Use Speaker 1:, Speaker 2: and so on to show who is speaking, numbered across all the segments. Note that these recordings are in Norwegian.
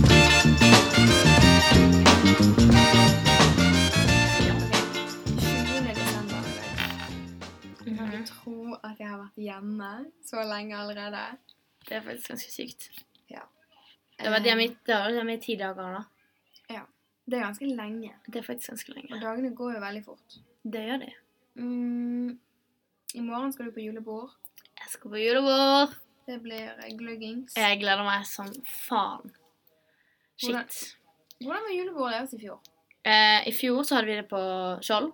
Speaker 1: Mm-hmm. Mhm.
Speaker 2: tro at jeg har vært hjemme så lenge allerede.
Speaker 1: Det er faktisk ganske sykt. Det
Speaker 2: Eh,
Speaker 1: har vært hjemme i, det har vært hjemme i ti dager, da.
Speaker 2: Det er ganske lenge.
Speaker 1: Det er faktisk ganske
Speaker 2: Og
Speaker 1: lenge.
Speaker 2: dagene går jo veldig fort.
Speaker 1: Det gjør de.
Speaker 2: Mm, I morgen skal du på julebord.
Speaker 1: Jeg skal på julebord.
Speaker 2: Det blir eh, gluggings.
Speaker 1: Jeg gleder meg som faen.
Speaker 2: Hvordan-
Speaker 1: Shit.
Speaker 2: Hvordan var julebordet deres i fjor?
Speaker 1: Eh, I fjor så hadde vi det på Skjold.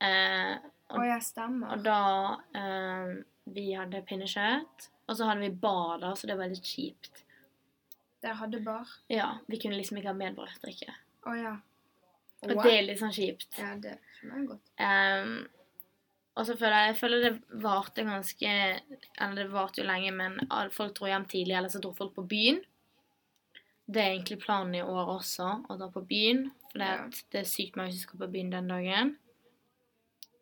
Speaker 1: Eh, Og-
Speaker 2: Å, jeg
Speaker 1: og
Speaker 2: stemmer.
Speaker 1: da eh, Vi hadde pinnekjøtt. Og så hadde vi bar, da, så det var litt kjipt.
Speaker 2: Dere hadde bar.
Speaker 1: Ja, Vi kunne liksom ikke ha medbrakt drikke.
Speaker 2: Å ja.
Speaker 1: Og
Speaker 2: Wow.
Speaker 1: det er litt sånn kjipt.
Speaker 2: Ja, det skjønner jeg godt.
Speaker 1: Ehm, og så føler jeg, jeg føler det varte ganske Eller det varte jo lenge, men all- folk dro hjem tidlig, eller så dro folk på byen. Det er egentlig planen i år også, å dra på byen. For det,
Speaker 2: Ja.
Speaker 1: det er sykt mange som skal på byen den dagen.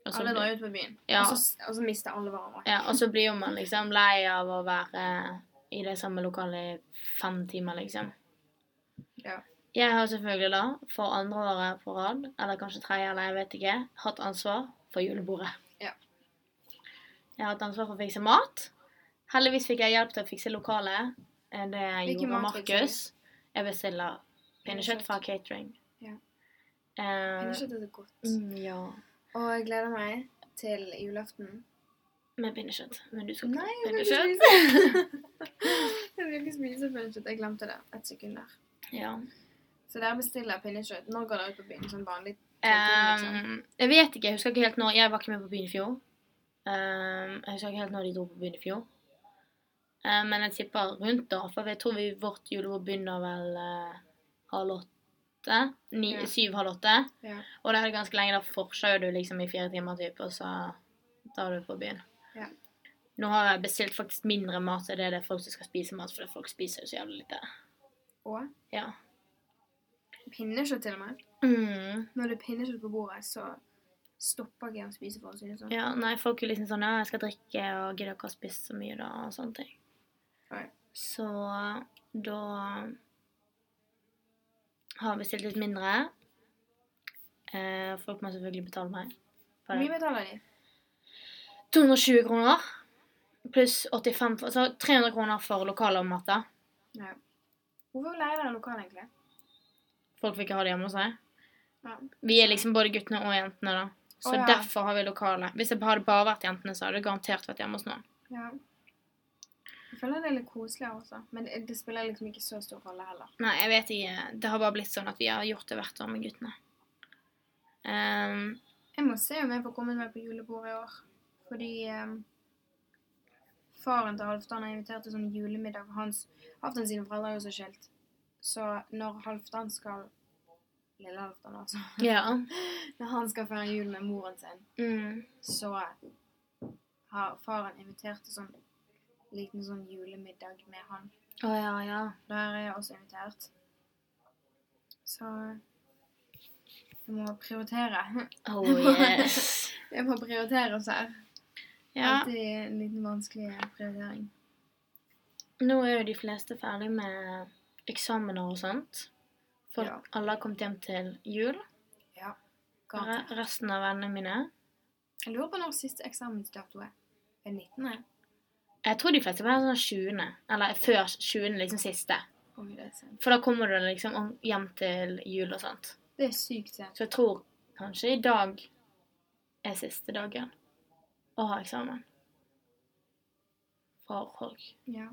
Speaker 1: Og så
Speaker 2: Alle
Speaker 1: blir-
Speaker 2: drar ut på byen,
Speaker 1: Ja.
Speaker 2: og, så, og så mister alle hverandre.
Speaker 1: ja, og så blir jo man liksom lei av å være i det samme lokalet i fem timer, liksom.
Speaker 2: Ja.
Speaker 1: Jeg har selvfølgelig da, for andre året på rad, eller kanskje tredje, eller jeg vet ikke, hatt ansvar for julebordet.
Speaker 2: Ja.
Speaker 1: Jeg har hatt ansvar for å fikse mat. Heldigvis fikk jeg hjelp til å fikse lokalet. Eh, Det
Speaker 2: Hvilken
Speaker 1: gjorde
Speaker 2: mat fikk du?
Speaker 1: Markus. Jeg bestiller pinnekjøtt fra catering.
Speaker 2: Ja.
Speaker 1: Eh,
Speaker 2: Pinnekjøtt er så godt.
Speaker 1: mm, ja,
Speaker 2: Og jeg gleder meg til julaften.
Speaker 1: med pinnekjøtt. Men du skal ikke ha
Speaker 2: jeg
Speaker 1: pinnekjøtt.
Speaker 2: skal ikke spise Jeg skal ikke spise pinnekjøtt. Jeg glemte det et sekund der.
Speaker 1: Ja.
Speaker 2: Så dere bestiller pinnekjøtt. Når går dere ut på byen? Sånn vanlig? Sånn,
Speaker 1: Ehm, jeg vet ikke. Jeg husker ikke helt når. Jeg var ikke med på byen i fjor. Ehm, jeg husker ikke helt når de dro på byen i fjor. Ehm, men jeg tipper rundt da. For jeg tror vi, vårt julebord begynner vel eh, halv åtte. Ni,
Speaker 2: Ja.
Speaker 1: Syv, halv åtte.
Speaker 2: Ja.
Speaker 1: Og det er det ganske lenge. Da forsøker du liksom i fire timer, typ, og så tar du på byen.
Speaker 2: Ja.
Speaker 1: Nå har jeg bestilt faktisk mindre mat enn det det er folk som skal spise mat, fordi folk spiser jo så jævlig lite.
Speaker 2: og
Speaker 1: Ja.
Speaker 2: pinnekjøtt til og med.
Speaker 1: Mm.
Speaker 2: Når det er pinnekjøtt på bordet, så stopper ikke jeg å spise for å si det sånn.
Speaker 1: Ja, nei, folk er liksom sånn Ja, jeg skal drikke, og gidder ikke å spise så mye, da, og sånne ting.
Speaker 2: Nei.
Speaker 1: Så da har jeg bestilt litt mindre. Eh, folk må selvfølgelig betale meg. for
Speaker 2: Hvor
Speaker 1: det.
Speaker 2: mye betaler de?
Speaker 1: 220 kroner pluss 85 for, Så 300 kroner for lokale og mat, da.
Speaker 2: Ja. Hvorfor leier dere lokal, egentlig?
Speaker 1: Folk vil ikke ha det hjemme hos seg.
Speaker 2: Ja.
Speaker 1: Vi er liksom både guttene og jentene, da. Så
Speaker 2: Å, ja.
Speaker 1: derfor har vi lokale. Hvis jeg hadde bare vært jentene, så hadde jeg garantert vært hjemme hos noen.
Speaker 2: ja. Jeg føler det er litt koseligere også, men det, det spiller liksom ikke så stor rolle heller.
Speaker 1: Nei, jeg vet ikke. Det har bare blitt sånn at vi har gjort det hvert år med guttene. Ehm,
Speaker 2: Jeg må se om jeg får kommet meg på julebord i år. Fordi em, faren til Halvdan har invitert til sånn julemiddag for hans Halvdan sine foreldre er jo så skilt. Så når Halvdan skal Lille Halvdan, altså.
Speaker 1: ja.
Speaker 2: Når han skal feire jul med moren sin,
Speaker 1: Mm.
Speaker 2: så har faren invitert til sånn liten sånn julemiddag med han.
Speaker 1: Å ja, ja.
Speaker 2: Der er jeg også invitert. Så jeg må prioritere.
Speaker 1: Oh yes.
Speaker 2: Jeg må prioritere oss her.
Speaker 1: ja.
Speaker 2: Alltid en liten vanskelig prioritering.
Speaker 1: Nå er jo de fleste ferdig med eksamener og sånt. For
Speaker 2: Ja.
Speaker 1: alle har kommet hjem til jul.
Speaker 2: Ja.
Speaker 1: Re
Speaker 2: Garantert.
Speaker 1: resten av vennene mine.
Speaker 2: Jeg lurer på når siste eksamensdato er. Er 19. er?
Speaker 1: Jeg tror de fleste var sånn 20. Eller før 20. liksom siste.
Speaker 2: Oi, det er sent.
Speaker 1: For da kommer du liksom om- hjem til jul og sånt.
Speaker 2: Det er sykt sent.
Speaker 1: Så jeg tror kanskje i dag er siste dagen å ha eksamen. For folk.
Speaker 2: Ja.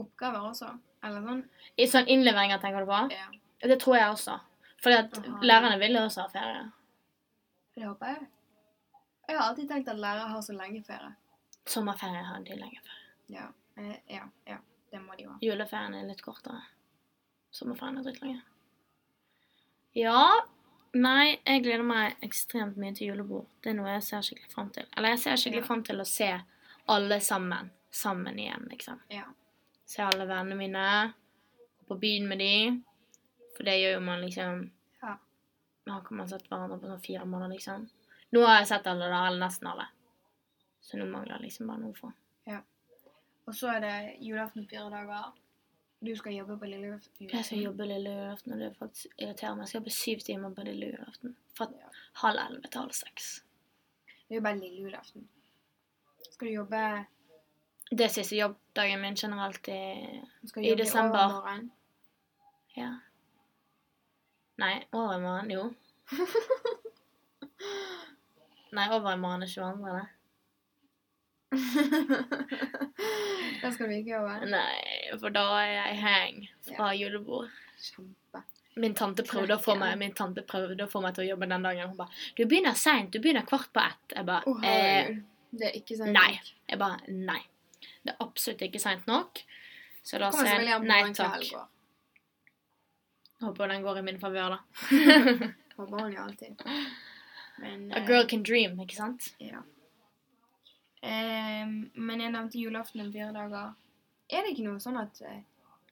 Speaker 2: Oppgaver også. Eller sånn.
Speaker 1: I sånn innleveringer, tenker du på?
Speaker 2: Ja.
Speaker 1: Det tror jeg også. Fordi at
Speaker 2: Aha.
Speaker 1: lærerne vil jo også ha ferie.
Speaker 2: Det håper jeg. Jeg har alltid tenkt at lærere har så lenge ferie.
Speaker 1: Sommerferie har de lenge før.
Speaker 2: Ja. Eh, ja. ja. Det må de jo ha.
Speaker 1: Juleferien er litt kortere. Sommerferien er dritlange. Ja. Nei, jeg gleder meg ekstremt mye til julebord. Det er noe jeg ser skikkelig fram til. Eller jeg ser skikkelig
Speaker 2: Ja.
Speaker 1: fram til å se alle sammen sammen igjen, liksom.
Speaker 2: Ja.
Speaker 1: se alle vennene mine, gå på byen med de. For det gjør jo man liksom
Speaker 2: Ja.
Speaker 1: Nå har ikke man sett hverandre på sånn fire måneder, liksom. Nå har jeg sett alle, da, eller nesten alle. Så nå mangler jeg liksom bare noe for.
Speaker 2: Og så er det julaften fire dager. Du skal jobbe på lille julaften.
Speaker 1: Jeg skal jobbe lille julaften, og det er faktisk irriterer meg. Jeg skal jobbe syv timer på lille julaften. Fra
Speaker 2: Ja.
Speaker 1: halv elleve til halv seks.
Speaker 2: Det er jo bare lille julaften. Skal du jobbe
Speaker 1: Det er siste jobbdagen min generelt i
Speaker 2: skal
Speaker 1: I
Speaker 2: du jobbe
Speaker 1: desember.
Speaker 2: overmorgen?
Speaker 1: Ja. Nei, over i morgen, jo. Nei, over i morgen er 22. det.
Speaker 2: Den skal du ikke jobbe.
Speaker 1: Nei, for da er jeg hang fra julebord.
Speaker 2: Kjempe.
Speaker 1: Min tante prøvde å få meg Min tante prøvde å få meg til å jobbe den dagen. Hun bare 'Du begynner seint. Du begynner kvart på ett.' Jeg bare
Speaker 2: Å,
Speaker 1: eh,
Speaker 2: herregud. Det er ikke sant.
Speaker 1: Nei. Jeg bare Nei. Det er absolutt ikke seint nok. Så da
Speaker 2: Kommer
Speaker 1: sier
Speaker 2: selvfølgelig
Speaker 1: jeg
Speaker 2: an på
Speaker 1: nei
Speaker 2: hvordan
Speaker 1: takk.
Speaker 2: kvelden går.
Speaker 1: Håper den går i min favør, da.
Speaker 2: Håper hun jo alltid. Men
Speaker 1: A
Speaker 2: eh,
Speaker 1: girl can dream, ikke sant?
Speaker 2: Ja. Ehm, men jeg nevnte julaften om fire dager. Er det ikke noe sånn at eh,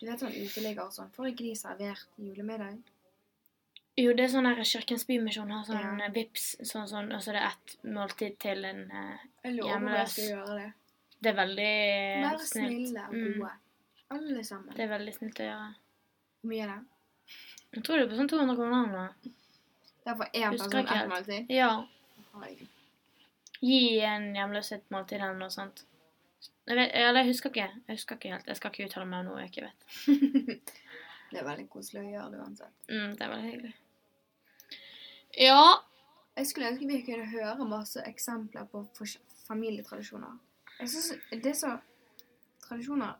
Speaker 2: du vet sånn uteligger og sånn, får ikke de servert julemiddag?
Speaker 1: Jo, det er sånn her Kirkens Bymisjon har sånn
Speaker 2: Ja.
Speaker 1: eh, vips, sånn sånn, og så er det ett måltid til en eh, Ja,
Speaker 2: Jeg lover
Speaker 1: men
Speaker 2: på at jeg
Speaker 1: det-
Speaker 2: skal gjøre det.
Speaker 1: Det er veldig eh,
Speaker 2: Vær
Speaker 1: snilt.
Speaker 2: snille og
Speaker 1: Mm,
Speaker 2: gode. Alle sammen.
Speaker 1: det er veldig snilt å gjøre.
Speaker 2: Hvor mye er det?
Speaker 1: Jeg tror det er på sånn 200 kroner eller noe.
Speaker 2: Det er for én
Speaker 1: Husker
Speaker 2: person
Speaker 1: ikke
Speaker 2: ett
Speaker 1: helt.
Speaker 2: måltid.
Speaker 1: Ja.
Speaker 2: Herregud.
Speaker 1: Gi en hjemløs et måltid eller noe sånt. Jeg vet, eller jeg husker ikke. Jeg husker ikke helt. Jeg skal ikke uttale meg om noe jeg ikke vet.
Speaker 2: Det er veldig koselig å gjøre det uansett.
Speaker 1: Mm, det er veldig hyggelig. Ja.
Speaker 2: Jeg skulle ønske vi kunne høre masse eksempler på fors- familietradisjoner. Jeg synes det er så Tradisjoner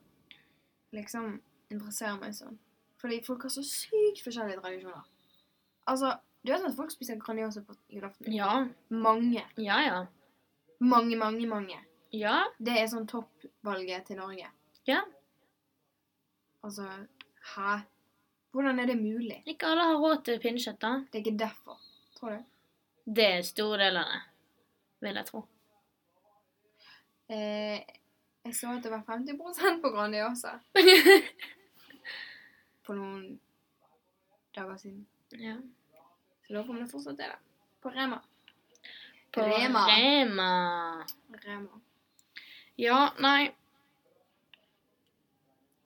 Speaker 2: liksom interesserer meg sånn. Fordi folk har så sykt forskjellige tradisjoner. Altså, du vet at folk spiser Grandiosa på julaften?
Speaker 1: Ja.
Speaker 2: Mange.
Speaker 1: Ja, ja.
Speaker 2: Mange, mange, mange.
Speaker 1: Ja.
Speaker 2: Det er sånn toppvalget til Norge.
Speaker 1: Ja.
Speaker 2: Altså, hæ? Hvordan er det mulig?
Speaker 1: Ikke alle har råd til pinnekjøtt, da.
Speaker 2: Det er ikke derfor, tror du?
Speaker 1: Det er stor del av det, vil jeg tro.
Speaker 2: Eh, jeg så at det var 50 på Grandiosa for noen dager siden.
Speaker 1: ja.
Speaker 2: Så da kommer det fortsatt til det. På Rema.
Speaker 1: På
Speaker 2: Rema.
Speaker 1: Rema.
Speaker 2: Rema.
Speaker 1: Ja, nei.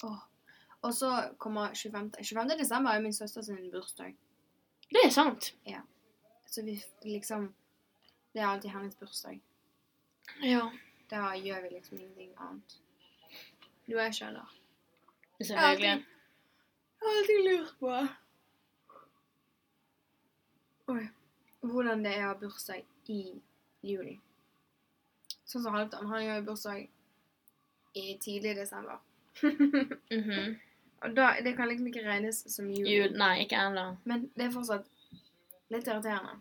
Speaker 2: Åh. Og så kommer 25. 25. desember er jo min søsters bursdag.
Speaker 1: Det er sant.
Speaker 2: Så vi f- liksom Det er alltid hennes bursdag.
Speaker 1: Ja.
Speaker 2: Da gjør vi liksom ingenting annet. Noe jeg skjønner.
Speaker 1: Selvfølgelig.
Speaker 2: Jeg har alltid lurt på Oi. Hvordan det er å ha bursdag i juli. Sånn som Halvdan. Han gjør jo bursdag i tidlig desember.
Speaker 1: Mhm.
Speaker 2: Og da, Det kan liksom ikke regnes som jul.
Speaker 1: Jul Nei, ikke ennå.
Speaker 2: Men det er fortsatt litt irriterende.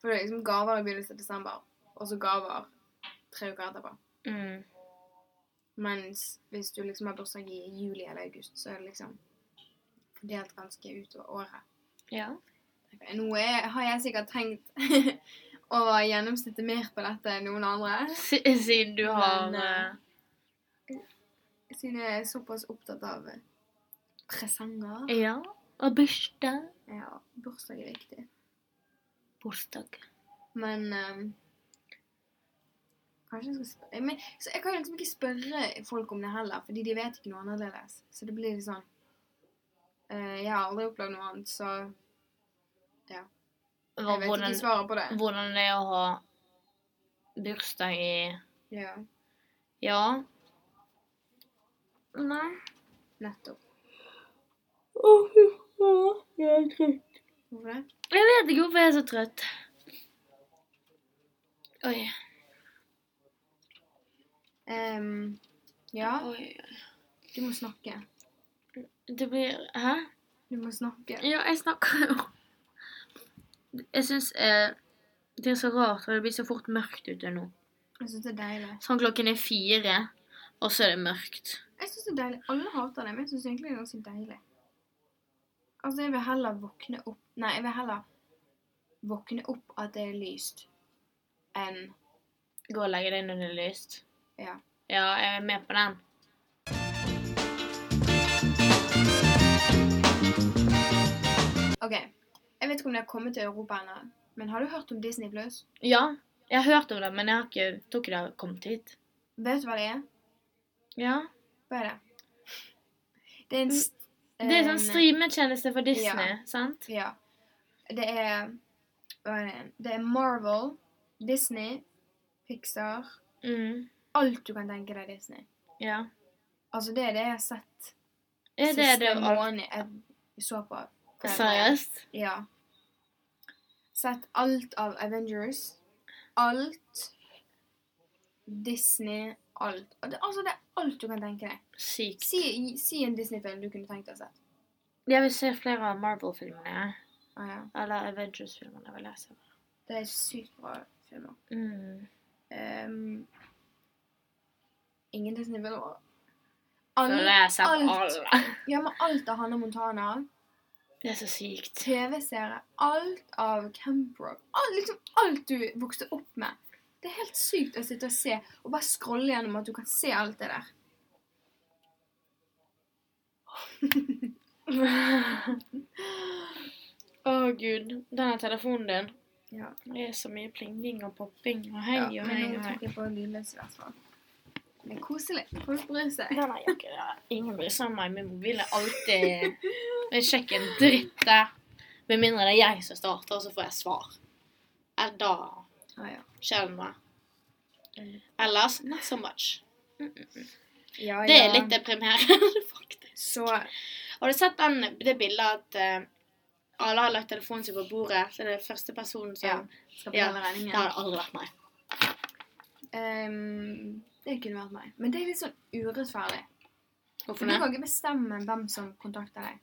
Speaker 2: For det er liksom gaver i begynnelsen av desember, og så gaver tre uker etterpå.
Speaker 1: Mm.
Speaker 2: Mens hvis du liksom har bursdag i juli eller august, så er det liksom fordelt ganske utover året.
Speaker 1: Ja.
Speaker 2: Nå er, har jeg sikkert tenkt å gjennomsnitte mer på dette enn noen andre.
Speaker 1: Si- Siden du har
Speaker 2: Men, eh,
Speaker 1: eh,
Speaker 2: Siden jeg er såpass opptatt av presanger.
Speaker 1: Ja. Og bursdag.
Speaker 2: Ja, bursdag er viktig.
Speaker 1: Bursdag.
Speaker 2: Men ehm, Kanskje jeg skal spørre men, Så jeg kan jo liksom ikke spørre folk om det heller, fordi de vet ikke noe annerledes. Så det blir litt sånn eh, Jeg har aldri opplevd noe annet, så jeg vet
Speaker 1: Hvordan,
Speaker 2: ikke svaret på det.
Speaker 1: hvordan det er å ha bursdag i
Speaker 2: Ja,
Speaker 1: Ja. Nei.
Speaker 2: nettopp.
Speaker 1: Å, fy faen. Jeg er trøtt.
Speaker 2: Hvorfor det?
Speaker 1: Jeg vet ikke hvorfor jeg er så trøtt. Oi.
Speaker 2: Ehm, ja,
Speaker 1: Oi.
Speaker 2: du må snakke.
Speaker 1: Det blir Hæ?
Speaker 2: Du må snakke.
Speaker 1: Ja, jeg snakker jo. Jeg syns eh, det er så rart, og det blir så fort mørkt ute nå.
Speaker 2: Jeg syns det er deilig.
Speaker 1: Sånn klokken er fire, og så er det mørkt.
Speaker 2: Jeg synes det er deilig. Alle hater det, men jeg syns egentlig det er ganske deilig. Altså, jeg vil heller våkne opp Nei, jeg vil heller våkne opp at det er lyst, enn
Speaker 1: Gå og legge deg når det er lyst.
Speaker 2: Ja.
Speaker 1: Ja, jeg er med på den.
Speaker 2: OK. Jeg vet ikke om det har kommet til Europa ennå, men har du hørt om Disney Plus?
Speaker 1: Ja, jeg har hørt om det, men jeg har ikke, tror ikke det har kommet hit.
Speaker 2: Vet du hva det er?
Speaker 1: Ja.
Speaker 2: Hva er det? Det er en st-
Speaker 1: Mm, Det er sånn
Speaker 2: en-
Speaker 1: streametjeneste for Disney,
Speaker 2: Ja.
Speaker 1: sant?
Speaker 2: Ja. Det er Hva er det? Det er Marvel, Disney, Pixar
Speaker 1: Mm.
Speaker 2: alt du kan tenke deg Disney.
Speaker 1: Ja.
Speaker 2: Altså, det er det jeg har sett
Speaker 1: Er det
Speaker 2: siste
Speaker 1: det alt?
Speaker 2: måned jeg så på.
Speaker 1: Seriøst?
Speaker 2: Ja. Sett alt av Avengers. Alt. Disney. Alt. Og Det, altså, det er alt du kan tenke deg.
Speaker 1: Sykt.
Speaker 2: Si, si en Disney-film du kunne tenkt deg å sett.
Speaker 1: Jeg vil se flere av Marvel-filmene.
Speaker 2: Ah, ja.
Speaker 1: Eller Avengers-filmene, vil jeg se.
Speaker 2: Det er sykt bra filmer.
Speaker 1: Mm.
Speaker 2: Ehm, ingen
Speaker 1: Føler
Speaker 2: Disney-filmer. Alle-
Speaker 1: jeg har sett
Speaker 2: alt.
Speaker 1: alle.
Speaker 2: Ja, men alt av Hannah Montana.
Speaker 1: Det er så sykt.
Speaker 2: TV-serie, alt av Camp Rock. Alt, liksom alt du vokste opp med. Det er helt sykt å sitte og se, og bare scrolle gjennom at du kan se alt det der.
Speaker 1: Å, gud. Denne telefonen din.
Speaker 2: Ja.
Speaker 1: Det er så mye plinging og popping og hei
Speaker 2: Ja,
Speaker 1: og
Speaker 2: men
Speaker 1: hei
Speaker 2: nå
Speaker 1: og hei.
Speaker 2: tok jeg på lydløs i hvert fall. Men koselig. Folk bryr seg.
Speaker 1: Nei, nei, jeg ikke det. Ingen bryr seg om meg. Min mobil er alltid Jeg sjekker en dritt der. Med mindre det er jeg som starter, og så får jeg svar. Eh, Da
Speaker 2: Ah, ja.
Speaker 1: skjer det noe. Ellers not so much.
Speaker 2: Ja,
Speaker 1: Det er
Speaker 2: ja.
Speaker 1: litt deprimerende, faktisk.
Speaker 2: Så
Speaker 1: Har du sett den, det bildet at eh, alle har lagt telefonen sin på bordet? Så det er første personen som
Speaker 2: Ja. skal betale
Speaker 1: Det
Speaker 2: regningen.
Speaker 1: hadde aldri vært meg.
Speaker 2: Ehm, det kunne vært meg. Men det er litt sånn urettferdig. For
Speaker 1: Hvorfor
Speaker 2: du
Speaker 1: det?
Speaker 2: kan ikke bestemme hvem som kontakter deg.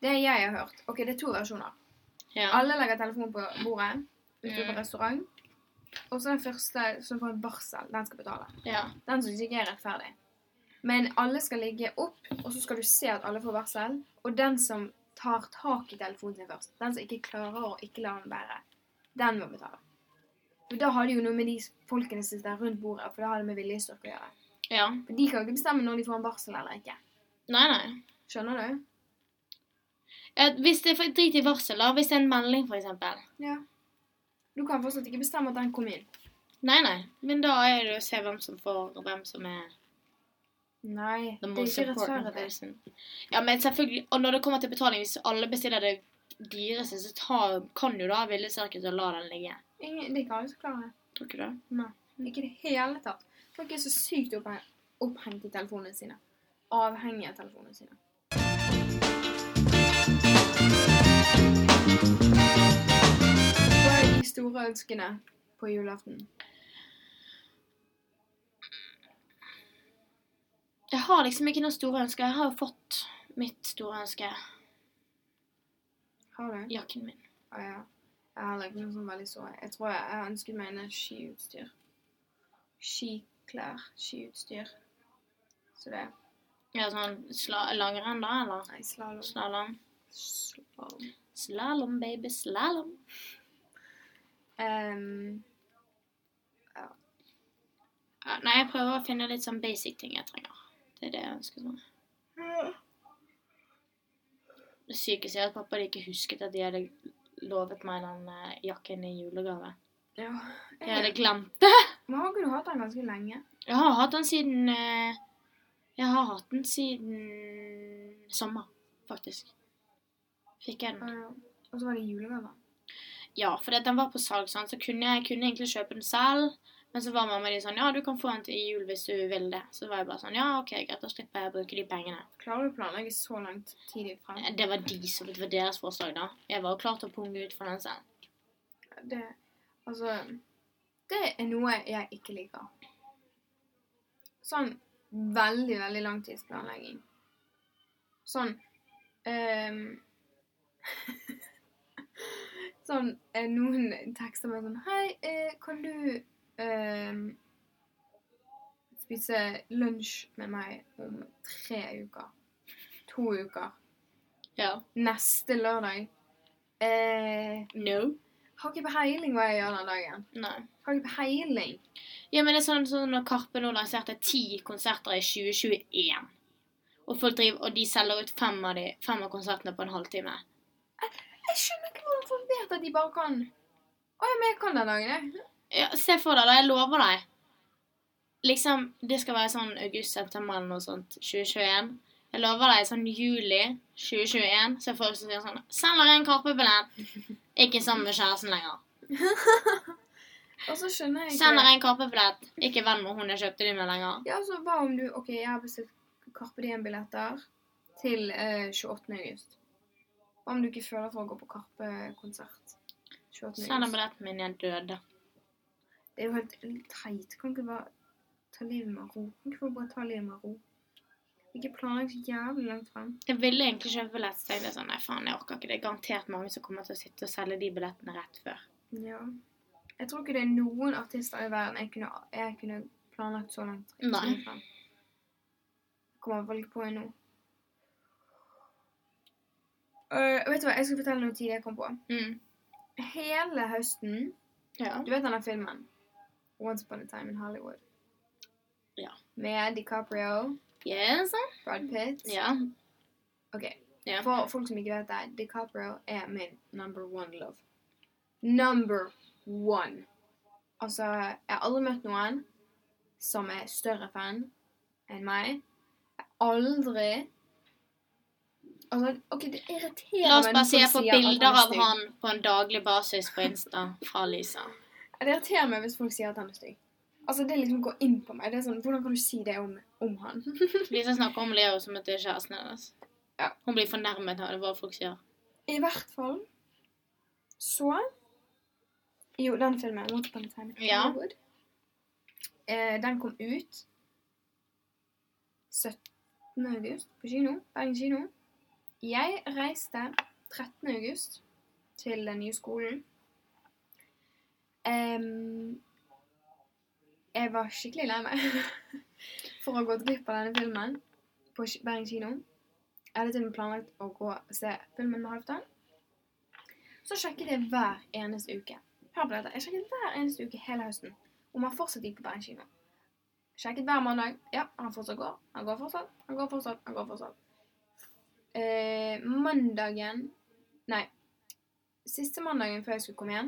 Speaker 2: Det jeg har hørt Ok, det er to versjoner.
Speaker 1: Ja.
Speaker 2: Alle legger telefonen på bordet ute på
Speaker 1: Mm.
Speaker 2: restaurant. Og så den første som får et varsel, den skal betale.
Speaker 1: ja.
Speaker 2: Den syns ikke jeg er rettferdig. Men alle skal ligge opp, og så skal du se at alle får varsel. Og den som tar tak i telefonen sin først, den som ikke klarer å ikke la den bære, den må betale. For da har det jo noe med de folkene som sitter rundt bordet, for da har det med viljestyrke å gjøre.
Speaker 1: ja.
Speaker 2: For de kan jo ikke bestemme når de får en varsel eller ikke.
Speaker 1: Nei, nei.
Speaker 2: Skjønner du?
Speaker 1: Eh, Hvis det er for- drit i varsel, da. Hvis det er en melding, for eksempel.
Speaker 2: Ja. Du kan fortsatt ikke bestemme at den kom inn.
Speaker 1: Nei, nei. Men da er det å se hvem som får, og hvem som er
Speaker 2: Nei,
Speaker 1: the
Speaker 2: det er
Speaker 1: most
Speaker 2: ikke
Speaker 1: important
Speaker 2: rettferdig.
Speaker 1: person. Ja, men selvfølgelig. Og når det kommer til betaling, hvis alle bestiller det dyreste, så ta, kan du da ville sirkus og la den ligge.
Speaker 2: Ingen, det er ikke alle som klarer det.
Speaker 1: Tror ikke du det?
Speaker 2: Nei, ikke i det hele tatt. Folk er så sykt opphe- opphengt i telefonene sine. Avhengig av telefonene sine. Hva er de store ønskene på julaften?
Speaker 1: Jeg har liksom ikke noe store ønsker. Jeg har jo fått mitt store ønske.
Speaker 2: Har du?
Speaker 1: Jakken min.
Speaker 2: Ah, ja. Jeg har heller ikke noe sånn veldig sår. Jeg tror jeg, jeg har ønsket meg en skiutstyr. Skiklær, skiutstyr. Så det
Speaker 1: Ja, sånn sla langrenn, da, eller?
Speaker 2: Nei, slalåm.
Speaker 1: Slalåm.
Speaker 2: Slalåm.
Speaker 1: Slalåm, baby. Slalåm.
Speaker 2: Ehm,
Speaker 1: Ja, Nei, jeg prøver å finne litt sånn basic ting jeg trenger. Det er det jeg ønsker sånn. meg. Det sykeste er at pappa ikke husket at de hadde lovet meg den eh, jakken i julegave.
Speaker 2: ja.
Speaker 1: Jeg hadde glemt det.
Speaker 2: Men har ikke du hatt den ganske lenge?
Speaker 1: Jeg har hatt den siden eh, Jeg har hatt den siden sommer, faktisk. Fikk jeg den.
Speaker 2: Ja. Og så var det julegave.
Speaker 1: Ja, for den var på salg, sant? så kunne jeg kunne egentlig kjøpe den selv. Men så var mamma de sånn Ja, du kan få den til jul hvis du vil det. Så var jeg bare sånn Ja, OK, greit, da slipper jeg å bruke de pengene.
Speaker 2: Klarer du å planlegge så langt tidlig frem?
Speaker 1: Det var de som det var deres forslag, da. Jeg var jo klar til å punge ut for den selv.
Speaker 2: Det, altså, det er noe jeg ikke liker. Sånn veldig, veldig langtidsplanlegging. Sånn ehm, Sånn eh, Noen tekster meg sånn Hei, eh, kan du ehm, spise lunsj med meg om tre uker? To uker?
Speaker 1: Ja.
Speaker 2: Neste lørdag? Eh,
Speaker 1: No.
Speaker 2: har ikke peiling hva jeg gjør den dagen.
Speaker 1: Nei.
Speaker 2: Har ikke peiling.
Speaker 1: Ja, men det er sånn, sånn når Karpe nå lanserte ti konserter i 2021. Og, folk driver, og de selger ut fem av, de, fem av konsertene på en halvtime.
Speaker 2: Jeg skjønner ikke hvordan folk vet at de bare kan Å ja, men jeg kan den dagen, jeg.
Speaker 1: Ja, se for deg, da. Jeg lover deg. Liksom, Det skal være sånn august-september eller noe sånt. 2021. Jeg lover deg sånn juli 2021. Så er folk som sier sånn Selger en Karpe-billett. Ikke sammen med kjæresten lenger.
Speaker 2: Og så skjønner jeg
Speaker 1: Send deg en kappebillett. Ikke venn med hun jeg kjøpte de med lenger.
Speaker 2: Ja, så hva om du OK, jeg har bestilt Carpe Diem-billetter til eh, 28. august. Hva om du ikke føler for å gå på Karpe-konsert? 28.
Speaker 1: Send deg
Speaker 2: august.
Speaker 1: billetten min, jeg døde.
Speaker 2: Det er jo helt teit. Kan ikke bare ta livet med ro. Kan ikke folk bare ta livet med ro? Ikke planlegg så jævlig langt frem.
Speaker 1: Jeg ville egentlig kjøpe billett, så jeg ble sånn Nei, faen, jeg orker ikke. Det er garantert mange som kommer til å sitte og selge de billettene rett før.
Speaker 2: Ja. Jeg tror ikke det er noen artister i verden jeg kunne, jeg kunne planlagt så langt.
Speaker 1: Nei.
Speaker 2: så langt frem. Jeg Kommer i hvert fall ikke på en nå. Øh, vet du hva, jeg skal fortelle noe tidlig jeg kom på.
Speaker 1: Mm.
Speaker 2: Hele høsten
Speaker 1: Ja.
Speaker 2: Du vet denne filmen? Once Upon a Time in Hollywood.
Speaker 1: Ja.
Speaker 2: Med DiCaprio,
Speaker 1: Yes.
Speaker 2: Brad Pitt.
Speaker 1: Ja.
Speaker 2: Ok,
Speaker 1: Ja.
Speaker 2: For folk som ikke vet det, DiCaprio er min number one love. Number one. Altså, jeg har aldri møtt noen som er større fan enn meg. Jeg har aldri Altså, OK, det irriterer
Speaker 1: La oss bare
Speaker 2: meg når
Speaker 1: se på
Speaker 2: folk sier at
Speaker 1: bilder
Speaker 2: er
Speaker 1: av
Speaker 2: stygg.
Speaker 1: han på en daglig basis på Insta fra Lisa.
Speaker 2: Det irriterer meg hvis folk sier at han er stygg. Altså, Det liksom går inn på meg. Det er sånn, Hvordan kan du si det om, om han?
Speaker 1: Lisa snakker om Leo som at det er kjæresten hennes.
Speaker 2: Ja.
Speaker 1: Hun blir fornærmet av det hva folk sier.
Speaker 2: I hvert fall så Jo, den filmen, Once Upon a Time in
Speaker 1: Ja.
Speaker 2: Hollywood, eh, den kom ut 17. august på kino. Bergen kino. Jeg reiste 13. august til den nye skolen. Em, jeg var skikkelig lei meg for å ha gått glipp av denne filmen på Ki- Bergen kino. Jeg hadde til og med planlagt å gå og se filmen med Halvdan. Så sjekket jeg hver eneste uke. Hør på dette. Jeg sjekket hver eneste uke hele høsten om han fortsatt gikk på Bergen kino. Sjekket hver mandag. Ja, han fortsatt går. Han går fortsatt. Han går fortsatt. Han går fortsatt. Eh, mandagen Nei. Siste mandagen før jeg skulle komme hjem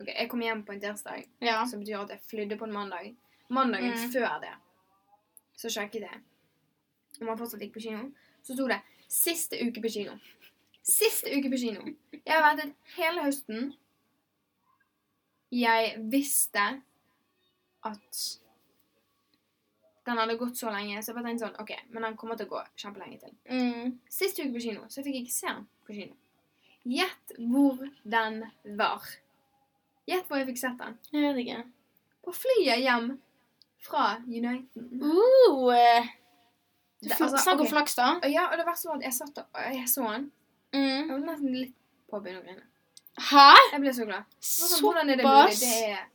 Speaker 2: Ok, Jeg kom hjem på en tirsdag.
Speaker 1: Ja.
Speaker 2: Som betyr at jeg flydde på en mandag. Mandagen
Speaker 1: Mm.
Speaker 2: før det, så sjekket jeg om han fortsatt gikk på kino. Så sto det 'siste uke på kino'. Siste uke på kino. Jeg har ventet hele høsten. Jeg visste at den hadde gått så lenge, så jeg bare tenkte sånn OK, men den kommer til å gå kjempelenge til.
Speaker 1: Mm.
Speaker 2: Sist uke på kino, så jeg fikk ikke se den på kino. Gjett hvor den var. Gjett hvor jeg fikk sett den.
Speaker 1: Jeg vet ikke.
Speaker 2: På flyet hjem fra Uniten.
Speaker 1: Uh, eh,
Speaker 2: Det-
Speaker 1: f-
Speaker 2: altså,
Speaker 1: Snakk om
Speaker 2: ok.
Speaker 1: flaks, da.
Speaker 2: Og ja, og det verste var at jeg satt der, og jeg så den. Jeg
Speaker 1: Mm.
Speaker 2: var nesten litt på å begynne å grine.
Speaker 1: Hæ?
Speaker 2: Jeg ble så glad. Jeg var sånn, Hvordan er det mulig?
Speaker 1: Såpass?
Speaker 2: Det er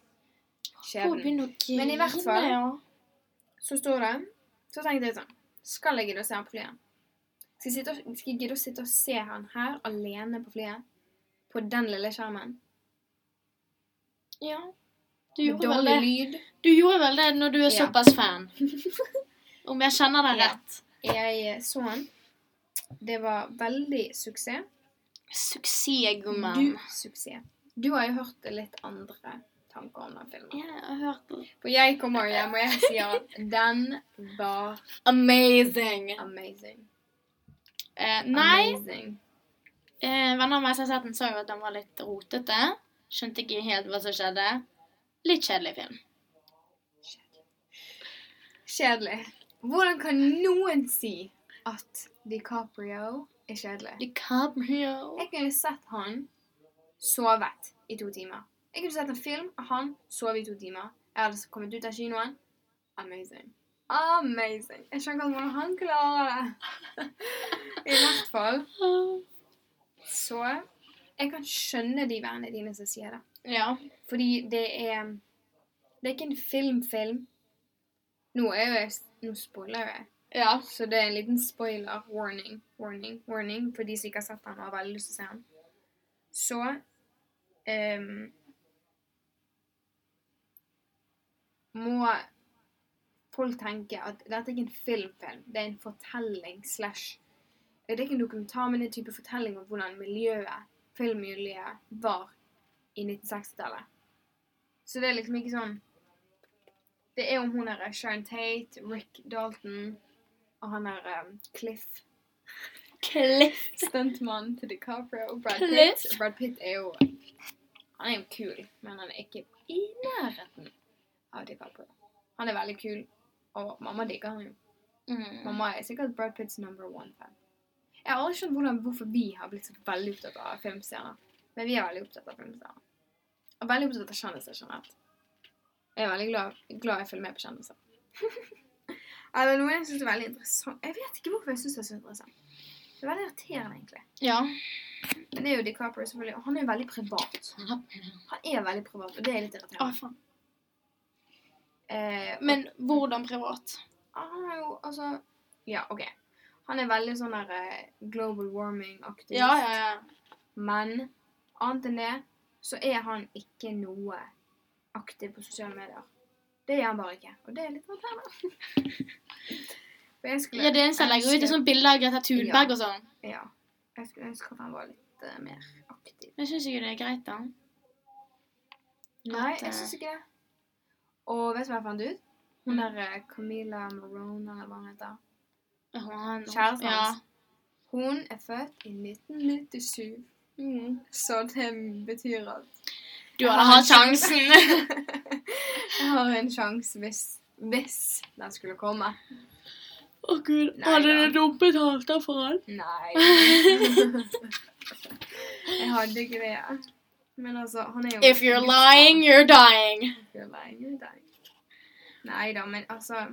Speaker 2: skjebnen.
Speaker 1: Men i hvert fall
Speaker 2: grine, Så står det Så tenkte jeg sånn Skal jeg gidde å se han på flyet? Skal jeg, sitte og, skal jeg gidde å sitte og se han her alene på flyet? På den lille skjermen?
Speaker 1: Ja. Du
Speaker 2: Med
Speaker 1: gjorde, vel
Speaker 2: dårlig
Speaker 1: det.
Speaker 2: lyd?
Speaker 1: du gjorde vel det når du er
Speaker 2: Ja.
Speaker 1: såpass fan. Om jeg kjenner deg
Speaker 2: Ja.
Speaker 1: rett.
Speaker 2: Jeg eh, så han. Det var veldig suksess.
Speaker 1: Suksessgummen.
Speaker 2: Du suksess. Du har jo hørt litt andre tanker om den filmen.
Speaker 1: Jeg har hørt det.
Speaker 2: For jeg kommer jo hjem, og jeg sier at den var
Speaker 1: Amazing.
Speaker 2: amazing.
Speaker 1: Eh, nei,
Speaker 2: Amazing.
Speaker 1: eh, venner av meg som har sett den, sa jo at den var litt rotete. Skjønte ikke helt hva som skjedde. Litt kjedelig film.
Speaker 2: Kjedelig. Hvordan kan noen si at DiCaprio er kjedelig?
Speaker 1: DiCaprio.
Speaker 2: Jeg kunne sett han sovet i to timer. Jeg kunne sett en film av han sove i to timer. Jeg hadde kommet ut av kinoen. Amazing. Amazing. Jeg skjønner ikke hvordan han klarer det. I hvert fall så Jeg kan skjønne de vennene dine som sier det.
Speaker 1: Ja.
Speaker 2: Fordi det er Det er ikke en filmfilm. Nå er jo jeg Nå spoiler jeg.
Speaker 1: ja.
Speaker 2: Så det er en liten spoiler. Warning, warning, warning. For de som ikke har sett den og har veldig lyst til å se den. Så ehm, Må folk tenke at dette er ikke en filmfilm. Det er en fortelling slash Det er ikke en dokumentar, men en type fortelling om hvordan miljøet, filmmiljøet, var i 1960-tallet. Så det er liksom ikke sånn Det er om hun her er eh, Sharon Tate, Rick Dalton og han er um, Cliff.
Speaker 1: Klipp.
Speaker 2: Stuntmannen til DiCaprio. Brad
Speaker 1: Cliff?
Speaker 2: Pitt. Brad Pitt er jo Han er jo kul, men han er ikke i nærheten av DiCaprio. Han er veldig kul, og mamma digger han jo.
Speaker 1: Mm.
Speaker 2: Mamma er sikkert Brad Pitts number one-fan. Jeg har aldri skjønt hvordan, hvorfor vi har blitt så veldig opptatt av filmstjerner. Men vi er veldig opptatt av filmstjerner. Og veldig opptatt av kjendiser generelt. Jeg er veldig glad, glad jeg følger med på kjendiser. Eller noe jeg syns er veldig interessant Jeg vet ikke hvorfor jeg syns det er så interessant. Det er veldig irriterende, egentlig.
Speaker 1: Ja.
Speaker 2: Men det er jo DiCaprio, selvfølgelig. Og han er jo veldig privat. Han er veldig privat, og det er litt
Speaker 1: Ah,
Speaker 2: irriterende.
Speaker 1: faen.
Speaker 2: Eh, og-
Speaker 1: Men hvordan privat?
Speaker 2: han er jo Altså Ja, OK. Han er veldig sånn der eh, global warming-aktig.
Speaker 1: Ja, ja, ja.
Speaker 2: Men annet enn det så er han ikke noe aktiv på sosiale medier. Det er han bare ikke. Og det er litt irriterende. For jeg skulle
Speaker 1: Ja, det eneste jeg legger ut, er sånne bilder av Greta Thunberg og sånn.
Speaker 2: Ja. Jeg skulle ønske at han var litt eh, mer aktiv.
Speaker 1: Jeg syns ikke det er greit, da.
Speaker 2: Nei,
Speaker 1: At, eh,
Speaker 2: jeg syns ikke det. Og vet du hva jeg fant ut?
Speaker 1: Mm.
Speaker 2: Hun der eh, Camilla Marone, eller hva hun heter.
Speaker 1: han-
Speaker 2: Kjæresten
Speaker 1: ja.
Speaker 2: hans. Hun er født i 1997. Mm, Så det betyr at
Speaker 1: Du hadde hatt sjansen.
Speaker 2: Jeg har en sjanse hvis, hvis den skulle komme.
Speaker 1: Å gud,
Speaker 2: Nei, hadde da. du
Speaker 1: dumpet hater for han?
Speaker 2: Nei. jeg hadde ikke det. Men altså, han er jo
Speaker 1: If you're lying, you're dying.
Speaker 2: If you're lying, you're dying. Nei da, men altså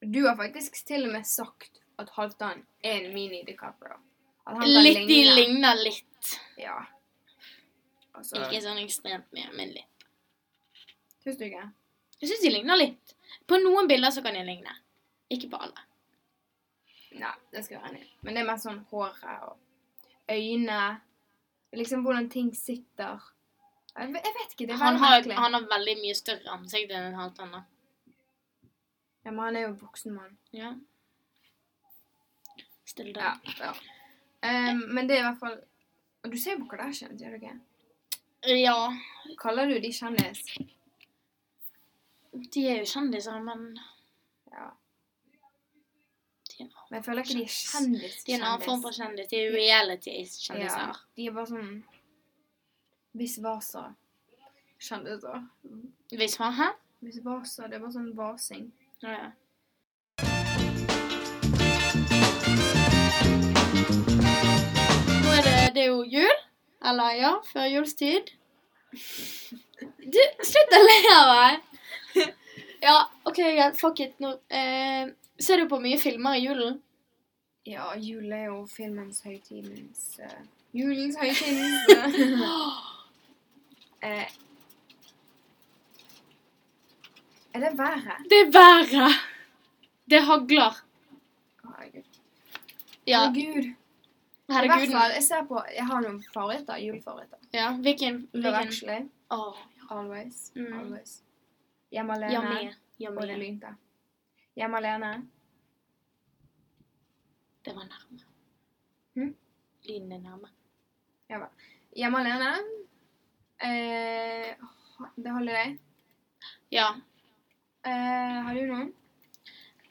Speaker 2: Du har faktisk til og med sagt at Halvdan er en mini DiCaprio. At han kan
Speaker 1: Litt, de
Speaker 2: ligne.
Speaker 1: ligner litt.
Speaker 2: Ja. Altså,
Speaker 1: Ikke sånn ekstremt mye, men litt.
Speaker 2: Syns du ikke?
Speaker 1: Jeg syns de ligner litt. På noen bilder så kan de ligne. Ikke på alle.
Speaker 2: Nei, det skal jeg være enig i. Men det er mer sånn håret og øyne. Liksom hvordan ting sitter. Jeg ve- jeg vet ikke. Det er
Speaker 1: Han
Speaker 2: veldig
Speaker 1: har,
Speaker 2: merkelig.
Speaker 1: han har veldig mye større ansikt enn en halvt annet.
Speaker 2: Ja, men han er jo en voksen mann.
Speaker 1: Ja. Still
Speaker 2: Ja,
Speaker 1: down.
Speaker 2: ja. Ehm, men det er i hvert fall Og Du ser jo på Kardashian, gjør du ikke?
Speaker 1: Ja.
Speaker 2: Kaller du de kjendis?
Speaker 1: De er jo kjendiser, men
Speaker 2: Ja.
Speaker 1: de er, en annen-
Speaker 2: Men jeg føler ikke de er kjendis.
Speaker 1: de er en annen form for kjendis. De er reality-kjendiser.
Speaker 2: Ja, de er bare sånn Hvis vaser. Kjendiser.
Speaker 1: Hvis man Hæ?
Speaker 2: Hvis vaser, det er bare sånn vasing.
Speaker 1: Ja, ja. Nå er det, det er jo jul. Eller ja, før julstid. Du, slutt å le av meg! Ja, OK, ja, fuck it. Nå, eh, ser du på mye filmer i julen?
Speaker 2: Ja, jul er jo filmens høytidens eh, Julens høytidens eh, eh, Er det verre?
Speaker 1: Det er været! Det hagler.
Speaker 2: Herregud.
Speaker 1: Ja,
Speaker 2: Herregud. I hvert
Speaker 1: herregud.
Speaker 2: fall, jeg ser på Jeg har noen favoritter. Julefavoritter.
Speaker 1: Ja, hvilken?
Speaker 2: Love
Speaker 1: hvilken?
Speaker 2: Actually.
Speaker 1: Åh,
Speaker 2: Always.
Speaker 1: Mm.
Speaker 2: Always. Hjemme
Speaker 1: ja,
Speaker 2: alene.
Speaker 1: med. Ja,
Speaker 2: og det
Speaker 1: med.
Speaker 2: lynte. Hjemme alene.
Speaker 1: Det var nærme.
Speaker 2: Hm?
Speaker 1: Lyden er nærme.
Speaker 2: Ja vel. Hjemme alene. Eh, det holder deg.
Speaker 1: Ja.
Speaker 2: Eh, har du noen?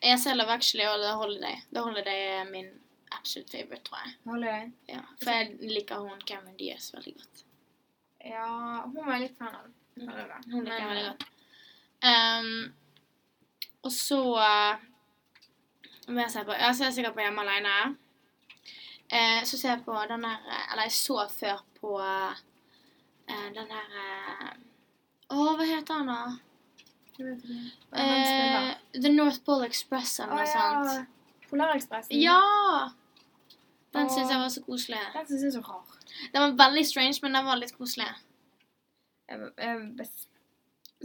Speaker 1: Jeg ser Love Actually og The Holiday. The Holiday er min absolute favorite, tror jeg.
Speaker 2: Det holder deg.
Speaker 1: Ja, for jeg liker hun Cameron Diaz veldig godt.
Speaker 2: Ja, hun var jeg litt fan av.
Speaker 1: Mm.
Speaker 2: Eller hva?
Speaker 1: Hun liker jeg
Speaker 2: Men,
Speaker 1: veldig godt. Ehm, og så eh, Hva jeg ser på? Jeg ser sikkert på Hjemme alene. Eh, så ser jeg på den der eh, Eller jeg så før på eh, den der eh, Å, hva heter han, da?
Speaker 2: jeg vet ikke. Hva er det han
Speaker 1: Eh,
Speaker 2: spiller?
Speaker 1: The North Pole Express eller
Speaker 2: Å
Speaker 1: noe
Speaker 2: ja.
Speaker 1: sånt.
Speaker 2: Polarekspressen.
Speaker 1: Ja! Den
Speaker 2: Åh.
Speaker 1: syns jeg var så koselig.
Speaker 2: Den syns jeg er så rar.
Speaker 1: Den var veldig strange, men den var litt koselig.
Speaker 2: Jeg, jeg, bes-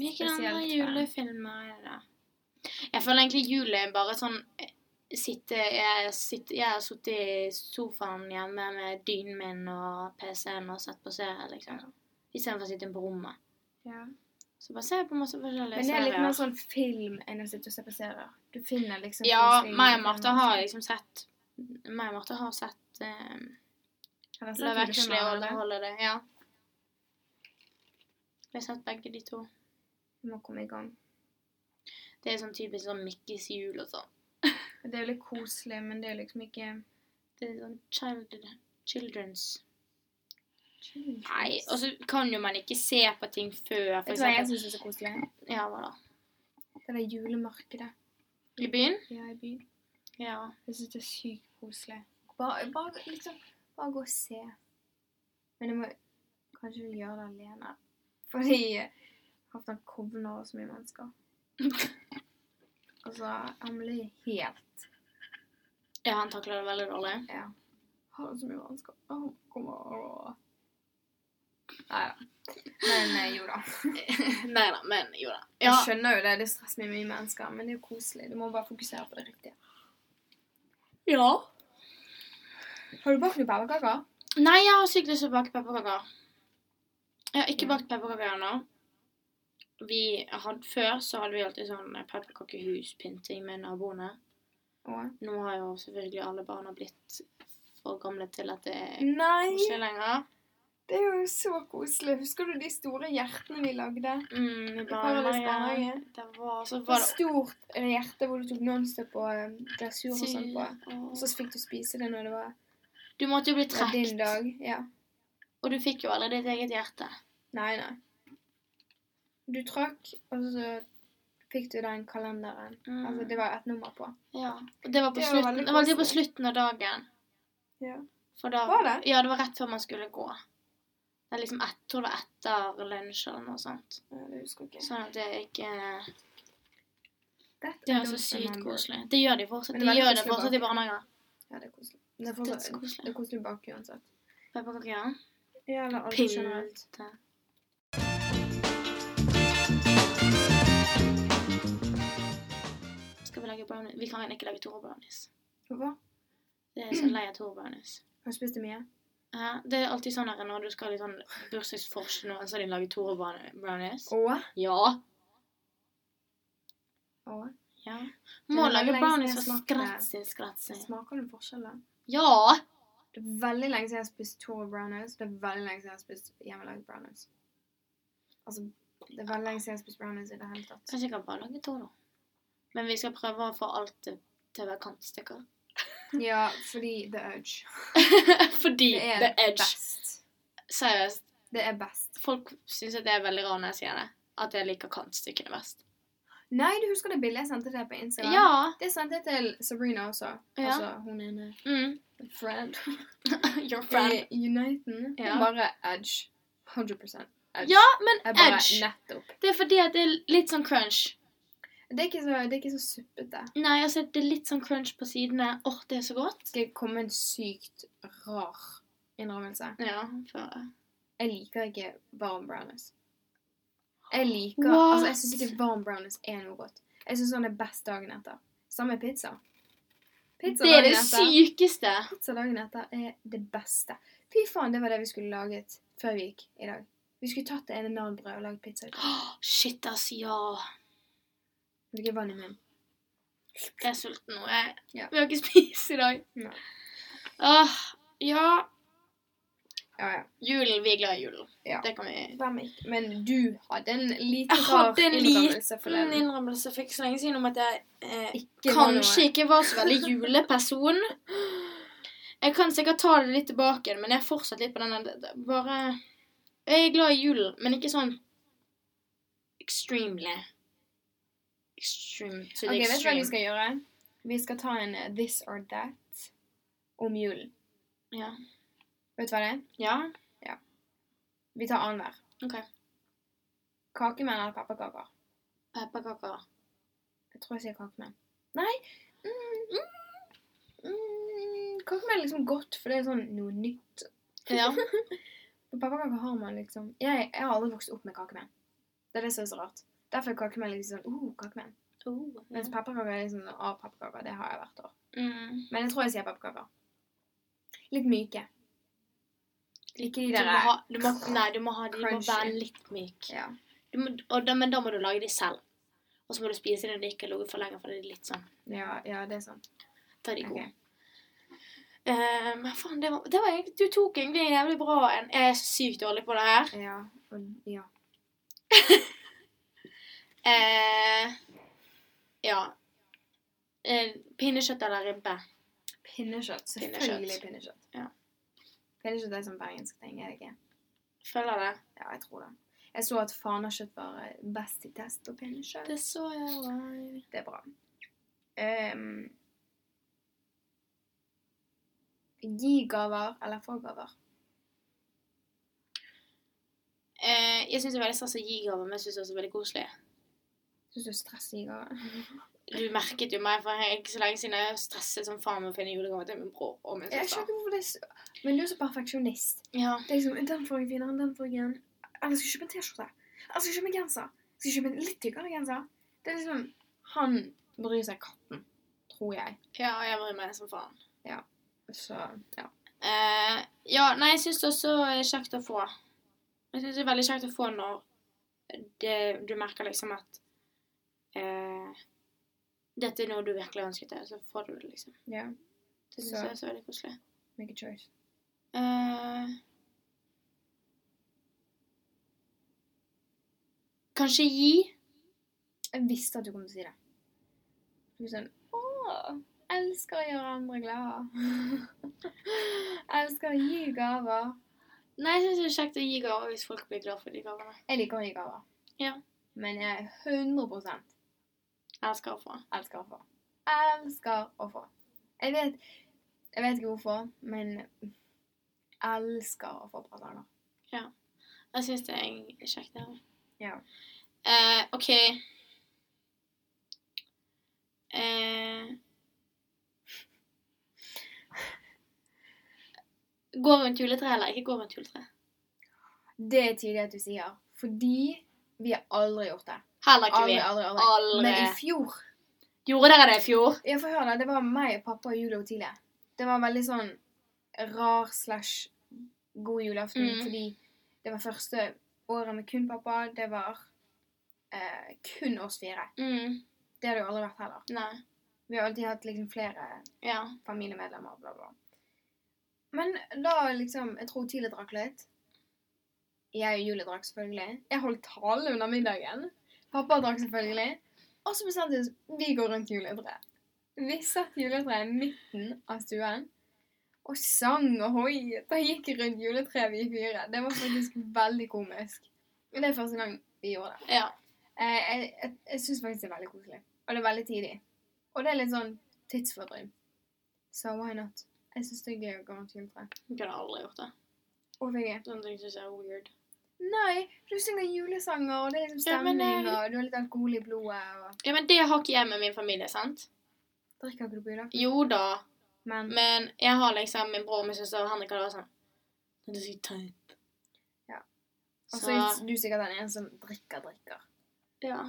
Speaker 1: Hvilke
Speaker 2: Spesielt
Speaker 1: andre
Speaker 2: fan.
Speaker 1: julefilmer er det? Jeg føler egentlig jul er bare sånn eh, sitte, jeg, sitte, jeg har sittet i sofaen hjemme med dynen min og PC-en og sett på serier, liksom. Istedenfor å sitte på rommet.
Speaker 2: ja.
Speaker 1: Så bare ser jeg på masse forskjellige
Speaker 2: Men det er litt mer
Speaker 1: serier.
Speaker 2: sånn film enn å sitte og se på serier. Du finner liksom
Speaker 1: Ja,
Speaker 2: koselige
Speaker 1: meg og
Speaker 2: filmer
Speaker 1: Martha
Speaker 2: og
Speaker 1: har
Speaker 2: sånn.
Speaker 1: liksom sett meg og Martha har sett eh,
Speaker 2: Har dere sett
Speaker 1: Love
Speaker 2: julefilmer
Speaker 1: Actually og
Speaker 2: allerede?
Speaker 1: The Holiday. Ja. Vi har sett begge de to.
Speaker 2: Vi må komme i gang.
Speaker 1: Det er sånn typisk sånn Mikkis jul og sånn.
Speaker 2: Det er jo litt koselig, men det er liksom ikke
Speaker 1: Det er sånn child, children's Nei, og så kan jo man ikke se på ting før, for
Speaker 2: Vet du hva jeg
Speaker 1: eksempel.
Speaker 2: syns er så koselig?
Speaker 1: Ja, hva da?
Speaker 2: Det der julemarkedet
Speaker 1: I byen?
Speaker 2: vi har i byen.
Speaker 1: Ja.
Speaker 2: Jeg syns det er sykt koselig. Bare, bare, liksom, bare gå og se. Men jeg må kanskje gjøre det alene. Fordi eh, Halvdan kovner over så mye mennesker. altså, han blir helt
Speaker 1: Ja, han takler det veldig dårlig.
Speaker 2: Ja. Har han så mye mennesker? Å, Han kommer og Nei da. Men eh, jo da.
Speaker 1: Nei da, men jo da. Ja,
Speaker 2: Jeg skjønner jo det. Det er stress med mye mennesker, men det er jo koselig. Du må bare fokusere på det riktige.
Speaker 1: ja.
Speaker 2: Har du bakt noen pepperkaker?
Speaker 1: Nei, jeg har sykt lyst til å bake pepperkaker. Jeg har ikke bakt pepperkaker ennå. Vi hadde, før så hadde vi alltid sånn pepperkakehuspynting med naboene.
Speaker 2: Å.
Speaker 1: Nå har jo selvfølgelig alle barna blitt for gamle til at det er
Speaker 2: Nei!
Speaker 1: koselig lenger.
Speaker 2: Det er jo så koselig. Husker du de store hjertene vi lagde?
Speaker 1: Mm, i
Speaker 2: Paradis
Speaker 1: barnehage.
Speaker 2: barnehage.
Speaker 1: Det var så
Speaker 2: Det var
Speaker 1: var det
Speaker 2: stort eh, hjerte hvor du tok nonstop og eh, glasur og sånn på. Og
Speaker 1: Åh.
Speaker 2: så fikk du spise det når det var,
Speaker 1: Du måtte jo bli
Speaker 2: var din
Speaker 1: trukket,
Speaker 2: dag. Ja.
Speaker 1: og du fikk jo aldri ditt eget hjerte.
Speaker 2: Nei, nei. Du trakk, og så fikk du den kalenderen.
Speaker 1: Mm.
Speaker 2: Altså, det var et nummer på.
Speaker 1: Ja. Og det var på
Speaker 2: Det var
Speaker 1: slutten.
Speaker 2: veldig
Speaker 1: Det var alltid på
Speaker 2: koselig.
Speaker 1: slutten av dagen.
Speaker 2: Ja.
Speaker 1: For da,
Speaker 2: Var det?
Speaker 1: Ja, det var rett før man skulle gå. Det er liksom et, tror det var etter lunsj eller noe sånt.
Speaker 2: Ja, Det husker jeg ikke.
Speaker 1: Sånn at det er ikke
Speaker 2: That
Speaker 1: Det
Speaker 2: I
Speaker 1: er så
Speaker 2: don't
Speaker 1: sykt
Speaker 2: remember.
Speaker 1: koselig. Det gjør de fortsatt.
Speaker 2: Men det
Speaker 1: De
Speaker 2: er veldig
Speaker 1: gjør det
Speaker 2: koselig
Speaker 1: fortsatt i
Speaker 2: bak.
Speaker 1: barnehager.
Speaker 2: Ja, det er koselig. Det er,
Speaker 1: Det er
Speaker 2: fortsatt,
Speaker 1: så koselig.
Speaker 2: det er koselig bak uansett.
Speaker 1: Pepperkaker, ja.
Speaker 2: Ja, eller alt generelt.
Speaker 1: Pynt. Skal vi lage brownies? Vi kan ikke lage Toro brownies.
Speaker 2: Hvorfor?
Speaker 1: Det er så lei av Toro brownies.
Speaker 2: Har du spist det mye?
Speaker 1: Hæ? Det er alltid sånn her når du skal i sånn bursdagsfors nå, så har de lager Toro brown- brownies.
Speaker 2: Åh?
Speaker 1: Ja.
Speaker 2: Åh?
Speaker 1: ja.
Speaker 2: er
Speaker 1: Må
Speaker 2: veldig
Speaker 1: lage
Speaker 2: lenge
Speaker 1: brownies
Speaker 2: siden jeg
Speaker 1: for
Speaker 2: smakte det.
Speaker 1: skratse, skratse.
Speaker 2: Smaker du forskjellen?
Speaker 1: Ja!
Speaker 2: Det er veldig lenge siden jeg har spist Toro brownies. Det er veldig lenge siden jeg har spist hjemmelaget brownies. Altså, det er veldig lenge siden jeg har spist brownies i det hele tatt.
Speaker 1: Kanskje jeg kan bare lage Toro. Men vi skal prøve å få alt til til å være kantstykker.
Speaker 2: Ja, fordi The Edge.
Speaker 1: Fordi
Speaker 2: Det er
Speaker 1: The Edge.
Speaker 2: best.
Speaker 1: Seriøst.
Speaker 2: Det er best.
Speaker 1: Folk syns at det er veldig rart når jeg sier det. At jeg liker kantstykkene best.
Speaker 2: Nei, du husker det bildet jeg sendte deg på Instagram?
Speaker 1: Ja.
Speaker 2: Det sendte jeg til Sabrina også.
Speaker 1: Ja.
Speaker 2: Altså, hun er en
Speaker 1: Mm.
Speaker 2: friend.
Speaker 1: Your friend.
Speaker 2: I Uniten.
Speaker 1: Ja.
Speaker 2: Bare Edge. 100 Edge.
Speaker 1: Ja, men
Speaker 2: Jeg bare
Speaker 1: edge.
Speaker 2: nettopp.
Speaker 1: Det er fordi at det er litt sånn crunch.
Speaker 2: Det er ikke så, det er ikke så suppete.
Speaker 1: Nei, altså, det er litt sånn crunch på sidene. Åh, det er så godt.
Speaker 2: Skal jeg komme med en sykt rar innrømmelse?
Speaker 1: Ja, for...
Speaker 2: Jeg liker ikke varm brownies. Jeg liker
Speaker 1: What?
Speaker 2: Altså, jeg syns ikke varm brownies er noe godt. Jeg syns sånn er best dagen etter. Samme med pizza. Pizza
Speaker 1: Det er
Speaker 2: dagen
Speaker 1: det
Speaker 2: etter.
Speaker 1: sykeste.
Speaker 2: Pizza dagen etter er det beste. Fy faen, det var det vi skulle laget før vi gikk i dag. Vi skulle tatt det ene nanbrødet og laget pizza.
Speaker 1: Åh, Shit, ass, ja.
Speaker 2: Men ikke vann i munnen.
Speaker 1: Jeg er sulten nå. Jeg
Speaker 2: Ja.
Speaker 1: vi har ikke spist i dag.
Speaker 2: Nei.
Speaker 1: Åh, ja.
Speaker 2: Ja, ja.
Speaker 1: Julen, vi er glad i julen.
Speaker 2: Ja.
Speaker 1: Det kan vi...
Speaker 2: Hvem ikke? Men du hadde en liten
Speaker 1: Jeg
Speaker 2: rar
Speaker 1: hadde en
Speaker 2: innrømmelse
Speaker 1: En
Speaker 2: forleden.
Speaker 1: innrømmelse for ikke så lenge siden om at jeg eh,
Speaker 2: Ikke var noe.
Speaker 1: kanskje ikke var så veldig juleperson. Jeg kan sikkert ta det litt tilbake, men jeg er fortsatt litt på denne det- det- Bare Jeg er glad i julen, men ikke sånn extremely. Extreme to the
Speaker 2: Ok, Vet du hva
Speaker 1: extreme.
Speaker 2: vi skal gjøre? Vi skal ta en eh, this or that om julen.
Speaker 1: Ja.
Speaker 2: Vet du hva det er?
Speaker 1: ja?
Speaker 2: Vi tar annenhver.
Speaker 1: OK.
Speaker 2: Kakemenn eller pepperkaker?
Speaker 1: Pepperkaker.
Speaker 2: Jeg tror jeg sier kakemenn. Nei. Mm. Mm. Kakemenn er liksom godt, for det er sånn noe nytt.
Speaker 1: Ja.
Speaker 2: Men pepperkaker har man liksom jeg, jeg har aldri vokst opp med kakemenn. Det er det som er så rart. Derfor er kakemenn liksom sånn oh, kakemenn.
Speaker 1: Oh, ja.
Speaker 2: Mens pepperkaker er liksom sånn ah, pepperkaker. Det har jeg hvert år.
Speaker 1: Mm.
Speaker 2: Men jeg tror jeg sier pepperkaker. Litt myke. Ikke de
Speaker 1: Du må
Speaker 2: der
Speaker 1: ha, du må, nei, du må ha de må
Speaker 2: Crunchy.
Speaker 1: være litt myke.
Speaker 2: ja.
Speaker 1: Du må, og da, men da må du lage de selv. Og så må du spise dem når de ikke har ligget for lenge, for det er litt sånn
Speaker 2: ja, ja, det er sant.
Speaker 1: Da er de
Speaker 2: Ok.
Speaker 1: gode. Eh, men faen, det var, det var egentlig, du tok egentlig en jævlig bra en. Jeg er så sykt dårlig på det her.
Speaker 2: Ja. og- ja.
Speaker 1: Eh, ja. Eh, pinnekjøtt eller ribbe?
Speaker 2: Pinnekjøtt. Selvfølgelig
Speaker 1: Pinnekjøtt.
Speaker 2: pinnekjøtt.
Speaker 1: Ja.
Speaker 2: Pinnekjøtt er sånn bergensk ting, er det ikke?
Speaker 1: Følger det.
Speaker 2: Ja, jeg tror det. Jeg så at fanakjøtt var eh, best i test og pinnekjøtt.
Speaker 1: Det så jeg live.
Speaker 2: Det er bra. Ehm, gi gaver eller få gaver.
Speaker 1: Eh, jeg syns det er veldig stas å gi gaver, men jeg syns også det er veldig koselig.
Speaker 2: Syns du stress i gaver?
Speaker 1: Du merket jo meg for ikke så lenge siden jeg stresset som faen med å finne julegaver til min bror og min
Speaker 2: Jeg skjønner
Speaker 1: søster.
Speaker 2: ikke hvorfor det er så Men du er så perfeksjonist.
Speaker 1: Ja.
Speaker 2: Det er liksom Den fargen er finere enn den fargen. Eller Altså, jeg skal kjøpe en T-skjorte. Eller jeg skal kjøpe en genser. Jeg skal kjøpe en litt tykkere genser. Det er liksom Han bryr seg katten, tror jeg.
Speaker 1: ja, og jeg bryr meg som faen.
Speaker 2: Så ja.
Speaker 1: Eh, ja, nei, jeg syns det også er kjekt å få. Jeg syns det er veldig kjekt å få når det, du merker liksom at eh, dette er noe du virkelig ønsket deg, og så får du det, liksom.
Speaker 2: ja.
Speaker 1: Det syns
Speaker 2: Så.
Speaker 1: jeg er så veldig koselig.
Speaker 2: Make a choice.
Speaker 1: Eh, kanskje gi
Speaker 2: Jeg visste at du kom til å si det. Du er sånn Åh, elsker å gjøre andre glade. elsker å gi gaver.
Speaker 1: Nei, jeg syns det er kjekt å gi gaver hvis folk blir glad for de gavene.
Speaker 2: Jeg liker å gi gaver.
Speaker 1: Ja.
Speaker 2: Men jeg er 100
Speaker 1: Jeg skal få.
Speaker 2: elsker å få. Elsker å få. Jeg vet, jeg vet ikke hvorfor, men elsker å få presanger.
Speaker 1: Jeg syns det er kjekt. det her.
Speaker 2: Ja.
Speaker 1: Eh, OK. Eh, gå rundt juletreet eller ikke gå rundt juletreet?
Speaker 2: Det er tidlig at du sier, fordi vi har aldri gjort det.
Speaker 1: Heller ikke
Speaker 2: Aldri,
Speaker 1: vi.
Speaker 2: aldri, aldri.
Speaker 1: Aldri.
Speaker 2: Men i fjor
Speaker 1: Gjorde dere det i fjor?
Speaker 2: Ja, få høre, det var meg og pappa og Julie og Otilie. Det var veldig sånn rar slash god julaften,
Speaker 1: Mm.
Speaker 2: fordi det var første året med kun pappa. Det var eh, kun oss fire.
Speaker 1: Mm.
Speaker 2: Det hadde jo aldri vært heller.
Speaker 1: Nei.
Speaker 2: Vi har alltid hatt liksom flere
Speaker 1: Ja.
Speaker 2: familiemedlemmer, bla, bla. Men da liksom Jeg tror Tile drakk litt. Jeg og Julie drakk selvfølgelig. Jeg holdt tale under middagen. Pappa drakk selvfølgelig. Og så bestemte vi oss vi går rundt juletreet. Vi satt juletreet i midten av stuen og sang og hoiet. Da gikk rundt juletreet vi fire. Det var faktisk veldig komisk. Men Det er første gang vi gjorde det.
Speaker 1: ja.
Speaker 2: Eh, jeg jeg, jeg syns faktisk det er veldig koselig. Og det er veldig tidlig. Og det er litt sånn tidsfordriv. Så why not? Jeg syns det er gøy å gå rundt juletreet.
Speaker 1: Jeg kunne aldri gjort det.
Speaker 2: Og VG.
Speaker 1: Sånne ting syns jeg er weird.
Speaker 2: Nei, for du synger julesanger, og det er liksom
Speaker 1: Ja, men
Speaker 2: stemning,
Speaker 1: jeg-
Speaker 2: og du har litt alkohol i blodet, og
Speaker 1: Ja, men det har ikke jeg med min familie, sant?
Speaker 2: Drikker ikke du på julaften?
Speaker 1: Jo da,
Speaker 2: Men
Speaker 1: men jeg har liksom min bror og min søster og Henrik hadde vært sånn Men det er så teit.
Speaker 2: Ja. Og så
Speaker 1: Så
Speaker 2: er du sikkert den ene som drikker, drikker.
Speaker 1: ja.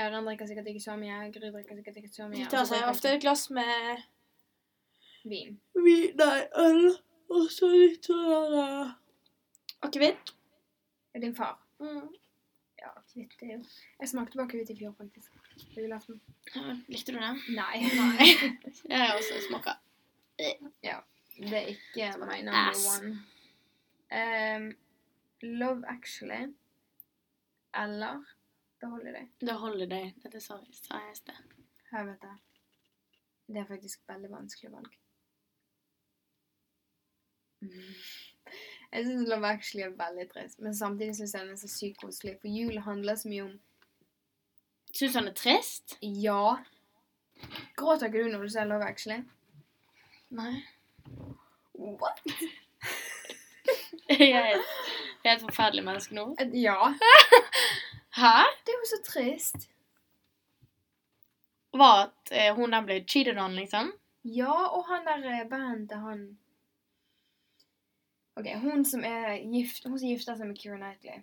Speaker 2: Ørjan drikker sikkert ikke så mye, Gry drikker sikkert ikke så mye.
Speaker 1: De
Speaker 2: og
Speaker 1: tar
Speaker 2: så
Speaker 1: seg
Speaker 2: drikker
Speaker 1: ofte et glass med
Speaker 2: ikke Vin.
Speaker 1: vin, nei, øl, og så litt sånn der eh, Akevitt.
Speaker 2: Det er din far.
Speaker 1: Mm.
Speaker 2: Ja, kvitt det er jo Jeg smakte bare kvitt i fjor, faktisk. På julaften.
Speaker 1: Likte du den?
Speaker 2: Nei.
Speaker 1: Jeg har også smaka.
Speaker 2: Det er ikke my number
Speaker 1: ass.
Speaker 2: one. Ehm, love Actually eller The Holiday.
Speaker 1: The Holiday. Dette sa vi sa jeg i sted.
Speaker 2: Jeg vet det. Det er faktisk veldig vanskelig valg. Mm. Jeg syns Love Actually er veldig trist, men samtidig syns jeg den er så sykt koselig. For jul handler så mye om
Speaker 1: Syns han er trist?
Speaker 2: ja. Gråter ikke du når du ser Love Actually?
Speaker 1: Nei.
Speaker 2: What?
Speaker 1: Jeg er et- jeg er et forferdelig menneske nå.
Speaker 2: Et Ja.
Speaker 1: Hæ?
Speaker 2: Det er jo så trist.
Speaker 1: var at eh, hun der ble cheated on, liksom.
Speaker 2: Ja, og han der eh, bandet, han OK, hun som er gift Hun som gifter seg med Keira Knightley.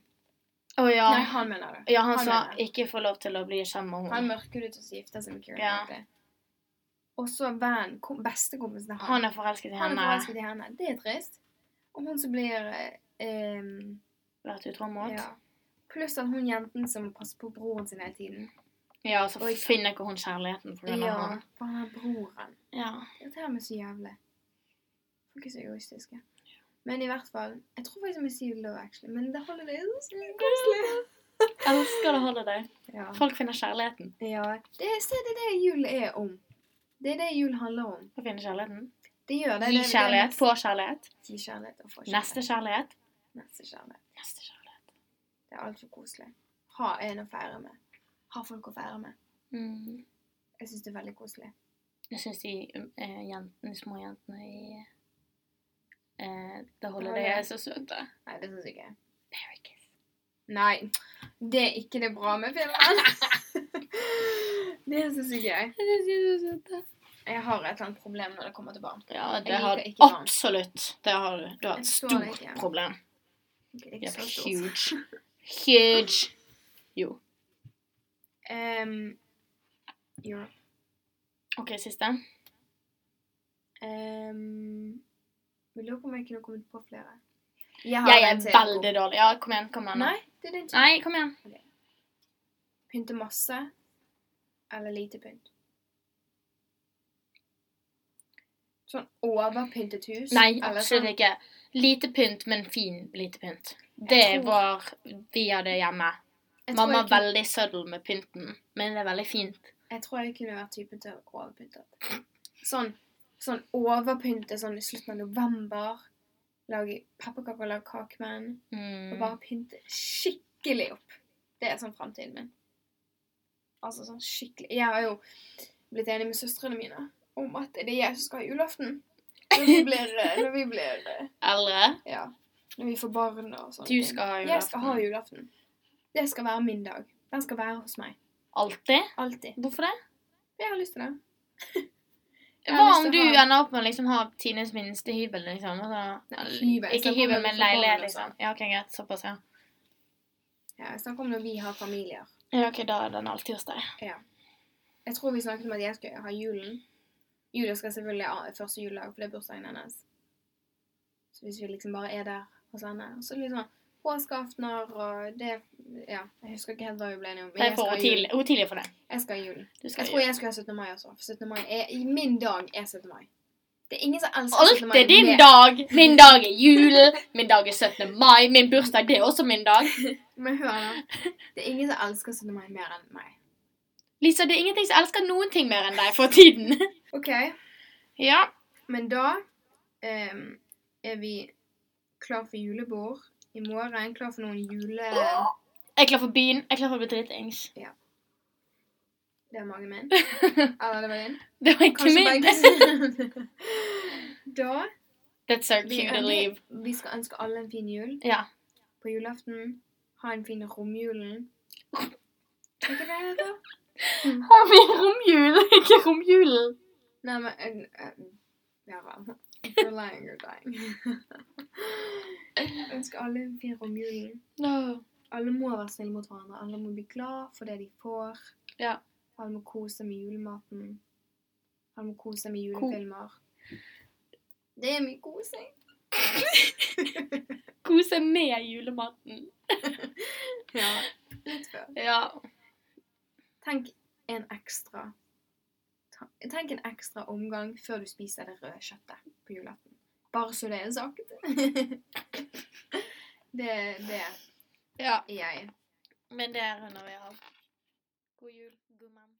Speaker 1: Å ja.
Speaker 2: Nei, han mener det.
Speaker 1: ja, han,
Speaker 2: han
Speaker 1: sa
Speaker 2: mener.
Speaker 1: 'ikke få lov til å bli sammen med
Speaker 2: Han
Speaker 1: henne'.
Speaker 2: mørkhudet som gifter seg med Keira
Speaker 1: Ja.
Speaker 2: Knightley. Og så van, kom, bestekompisen til han.
Speaker 1: Han er forelsket i
Speaker 2: Han
Speaker 1: henne.
Speaker 2: er forelsket i henne. Det er trist. Og hun som blir eh, em,
Speaker 1: Vært utro mot.
Speaker 2: ja.
Speaker 1: Ja.
Speaker 2: Pluss at hun jenten som passer på broren sin hele tiden.
Speaker 1: så
Speaker 2: Oi.
Speaker 1: finner ikke hun kjærligheten for den
Speaker 2: Ja,
Speaker 1: andre.
Speaker 2: for han er broren.
Speaker 1: Ja.
Speaker 2: Det irriterer meg så jævlig. Folk er så egoistiske. Men i hvert fall Jeg tror faktisk vi sier love, actually. Men det holder det så sykt koselig.
Speaker 1: Elsker det holdet deg.
Speaker 2: Ja.
Speaker 1: Folk finner kjærligheten.
Speaker 2: ja. Det, se, det er det jul er om. Det er det jul handler om.
Speaker 1: Å finne kjærligheten.
Speaker 2: Det gjør det.
Speaker 1: Gi
Speaker 2: det, det,
Speaker 1: kjærlighet,
Speaker 2: det
Speaker 1: få kjærlighet.
Speaker 2: Gi kjærlighet og få kjærlighet.
Speaker 1: Neste kjærlighet.
Speaker 2: Neste kjærlighet.
Speaker 1: Neste kjærlighet.
Speaker 2: Det er altfor koselig. Ha en å feire med. Ha folk å feire med.
Speaker 1: Mm.
Speaker 2: Jeg syns det er veldig koselig.
Speaker 1: Jeg syns de eh, jentene, små jentene i eh, Det
Speaker 2: Holiday.
Speaker 1: holder det er så søte.
Speaker 2: Nei, det syns ikke jeg.
Speaker 1: Merry kiss.
Speaker 2: Nei, det er ikke det bra med filmen. det syns ikke jeg.
Speaker 1: Jeg syns de er så søte.
Speaker 2: Jeg har et eller annet problem når det kommer til barn.
Speaker 1: Ja,
Speaker 2: Jeg
Speaker 1: det
Speaker 2: liker
Speaker 1: har
Speaker 2: ikke barn.
Speaker 1: absolutt. Det har du. Du har
Speaker 2: Jeg
Speaker 1: et
Speaker 2: forstår
Speaker 1: stort
Speaker 2: det ikke.
Speaker 1: problem.
Speaker 2: Det er
Speaker 1: Det
Speaker 2: ikke
Speaker 1: er
Speaker 2: så stort.
Speaker 1: huge. Huge. Jo.
Speaker 2: Ehm, jo.
Speaker 1: OK, siste.
Speaker 2: Ehm, jeg lurer på om jeg kunne kommet på flere. Jeg,
Speaker 1: Jeg
Speaker 2: en
Speaker 1: er
Speaker 2: til.
Speaker 1: veldig dårlig. Ja, kom igjen. Kom igjen. nå.
Speaker 2: Nei, det er din tur.
Speaker 1: Nei, kom igjen.
Speaker 2: Pynte masse eller lite pynt. Sånn overpyntet hus.
Speaker 1: Nei,
Speaker 2: eller
Speaker 1: absolutt
Speaker 2: sånn-
Speaker 1: ikke. Lite pynt, men fin lite pynt. Det
Speaker 2: tror-
Speaker 1: var vi hadde hjemme.
Speaker 2: Jeg tror
Speaker 1: Mamma
Speaker 2: jeg
Speaker 1: er
Speaker 2: kunne-
Speaker 1: veldig søddel med pynten, men det er veldig fint.
Speaker 2: Jeg tror jeg kunne vært typen til å overpynte. Sånn, sånn overpynte sånn i slutten av november. Lage pepperkaker, lage kakemenn.
Speaker 1: Mm.
Speaker 2: Og bare pynte skikkelig opp. Det er sånn framtiden min. Altså sånn skikkelig Jeg har jo blitt enig med søstrene mine om at det er jeg som skal ha julaften. Når vi blir, eh, når vi blir eh,
Speaker 1: Eldre?
Speaker 2: Ja. Når vi får barn og sånn.
Speaker 1: Du skal ha
Speaker 2: Jeg skal ha
Speaker 1: julaften.
Speaker 2: julaften. Det skal være min dag. Den skal være hos meg.
Speaker 1: Alltid?
Speaker 2: Alltid.
Speaker 1: Hvorfor det?
Speaker 2: Jeg har lyst til det. Jeg har
Speaker 1: Hva
Speaker 2: lyst
Speaker 1: om du
Speaker 2: til å ha-
Speaker 1: ender opp med å liksom ha tidenes minste hybel, liksom? Altså,
Speaker 2: Nei, hybel. Jeg
Speaker 1: Ikke
Speaker 2: snakker om
Speaker 1: hybel,
Speaker 2: når vi
Speaker 1: men
Speaker 2: får barn
Speaker 1: leilighet,
Speaker 2: og sånn.
Speaker 1: liksom. Ja, ok, greit. Såpass, ja.
Speaker 2: Ja, jeg snakker om når vi har familier.
Speaker 1: Ja, ok, da er den alltid hos deg.
Speaker 2: Jeg tror vi snakket om at jeg skal ha julen. Julia skal selvfølgelig ha første juledag, for det er bursdagen hennes. Så hvis vi liksom bare er der hos henne Og så liksom påskeaftener og det Ja, jeg husker ikke helt hva vi ble enige om.
Speaker 1: Det er for
Speaker 2: jeg, skal ha julen.
Speaker 1: tidlig, hun tidlig for det.
Speaker 2: jeg skal ha julen.
Speaker 1: Du
Speaker 2: Jeg
Speaker 1: skal
Speaker 2: tror jeg skal ha 17. mai også. For 17. mai er, i min dag er 17. mai. Det er ingen som elsker
Speaker 1: Alt er din
Speaker 2: mer-
Speaker 1: dag! Min dag er julen, min dag er 17. mai, min bursdag det er også min dag.
Speaker 2: Men hør nå. Det er ingen som elsker 17. mai mer enn meg.
Speaker 1: Lisa, det er ingenting som elsker noen ting mer enn deg for tiden.
Speaker 2: OK,
Speaker 1: Ja.
Speaker 2: men da em, er vi klar for julebord i morgen. Klar for noen jule...
Speaker 1: Jeg er klar for byen. Jeg er klar for å bli dritings.
Speaker 2: Det er magen min. Eller det var din.
Speaker 1: Det var ikke
Speaker 2: Kanskje
Speaker 1: min.
Speaker 2: begge. da
Speaker 1: That's our
Speaker 2: vi,
Speaker 1: cue to leave.
Speaker 2: vi skal ønske alle en fin jul
Speaker 1: Ja.
Speaker 2: på julaften. Ha en fin romjulen. Er ikke det det heter?
Speaker 1: Har vi romjul? Ikke romjulen.
Speaker 2: Nei, men eh, eh, Ja vel. You're lying, you're dying. ønske alle en fin romjulen. Alle må være snille mot hverandre. Alle må bli glad for det de får.
Speaker 1: Ja.
Speaker 2: Alle må kose seg med julematen. Alle må kose seg med julefilmer. Det er mye kosing.
Speaker 1: Kose med julematen.
Speaker 2: Ja, litt før.
Speaker 1: Ja.
Speaker 2: Tenk en ekstra ta- Tenk en ekstra omgang før du spiser det røde kjøttet på julaften. Bare så det er sagt. det, det
Speaker 1: ja.
Speaker 2: er jeg.
Speaker 1: Men det runder vi av. God jul, god mann.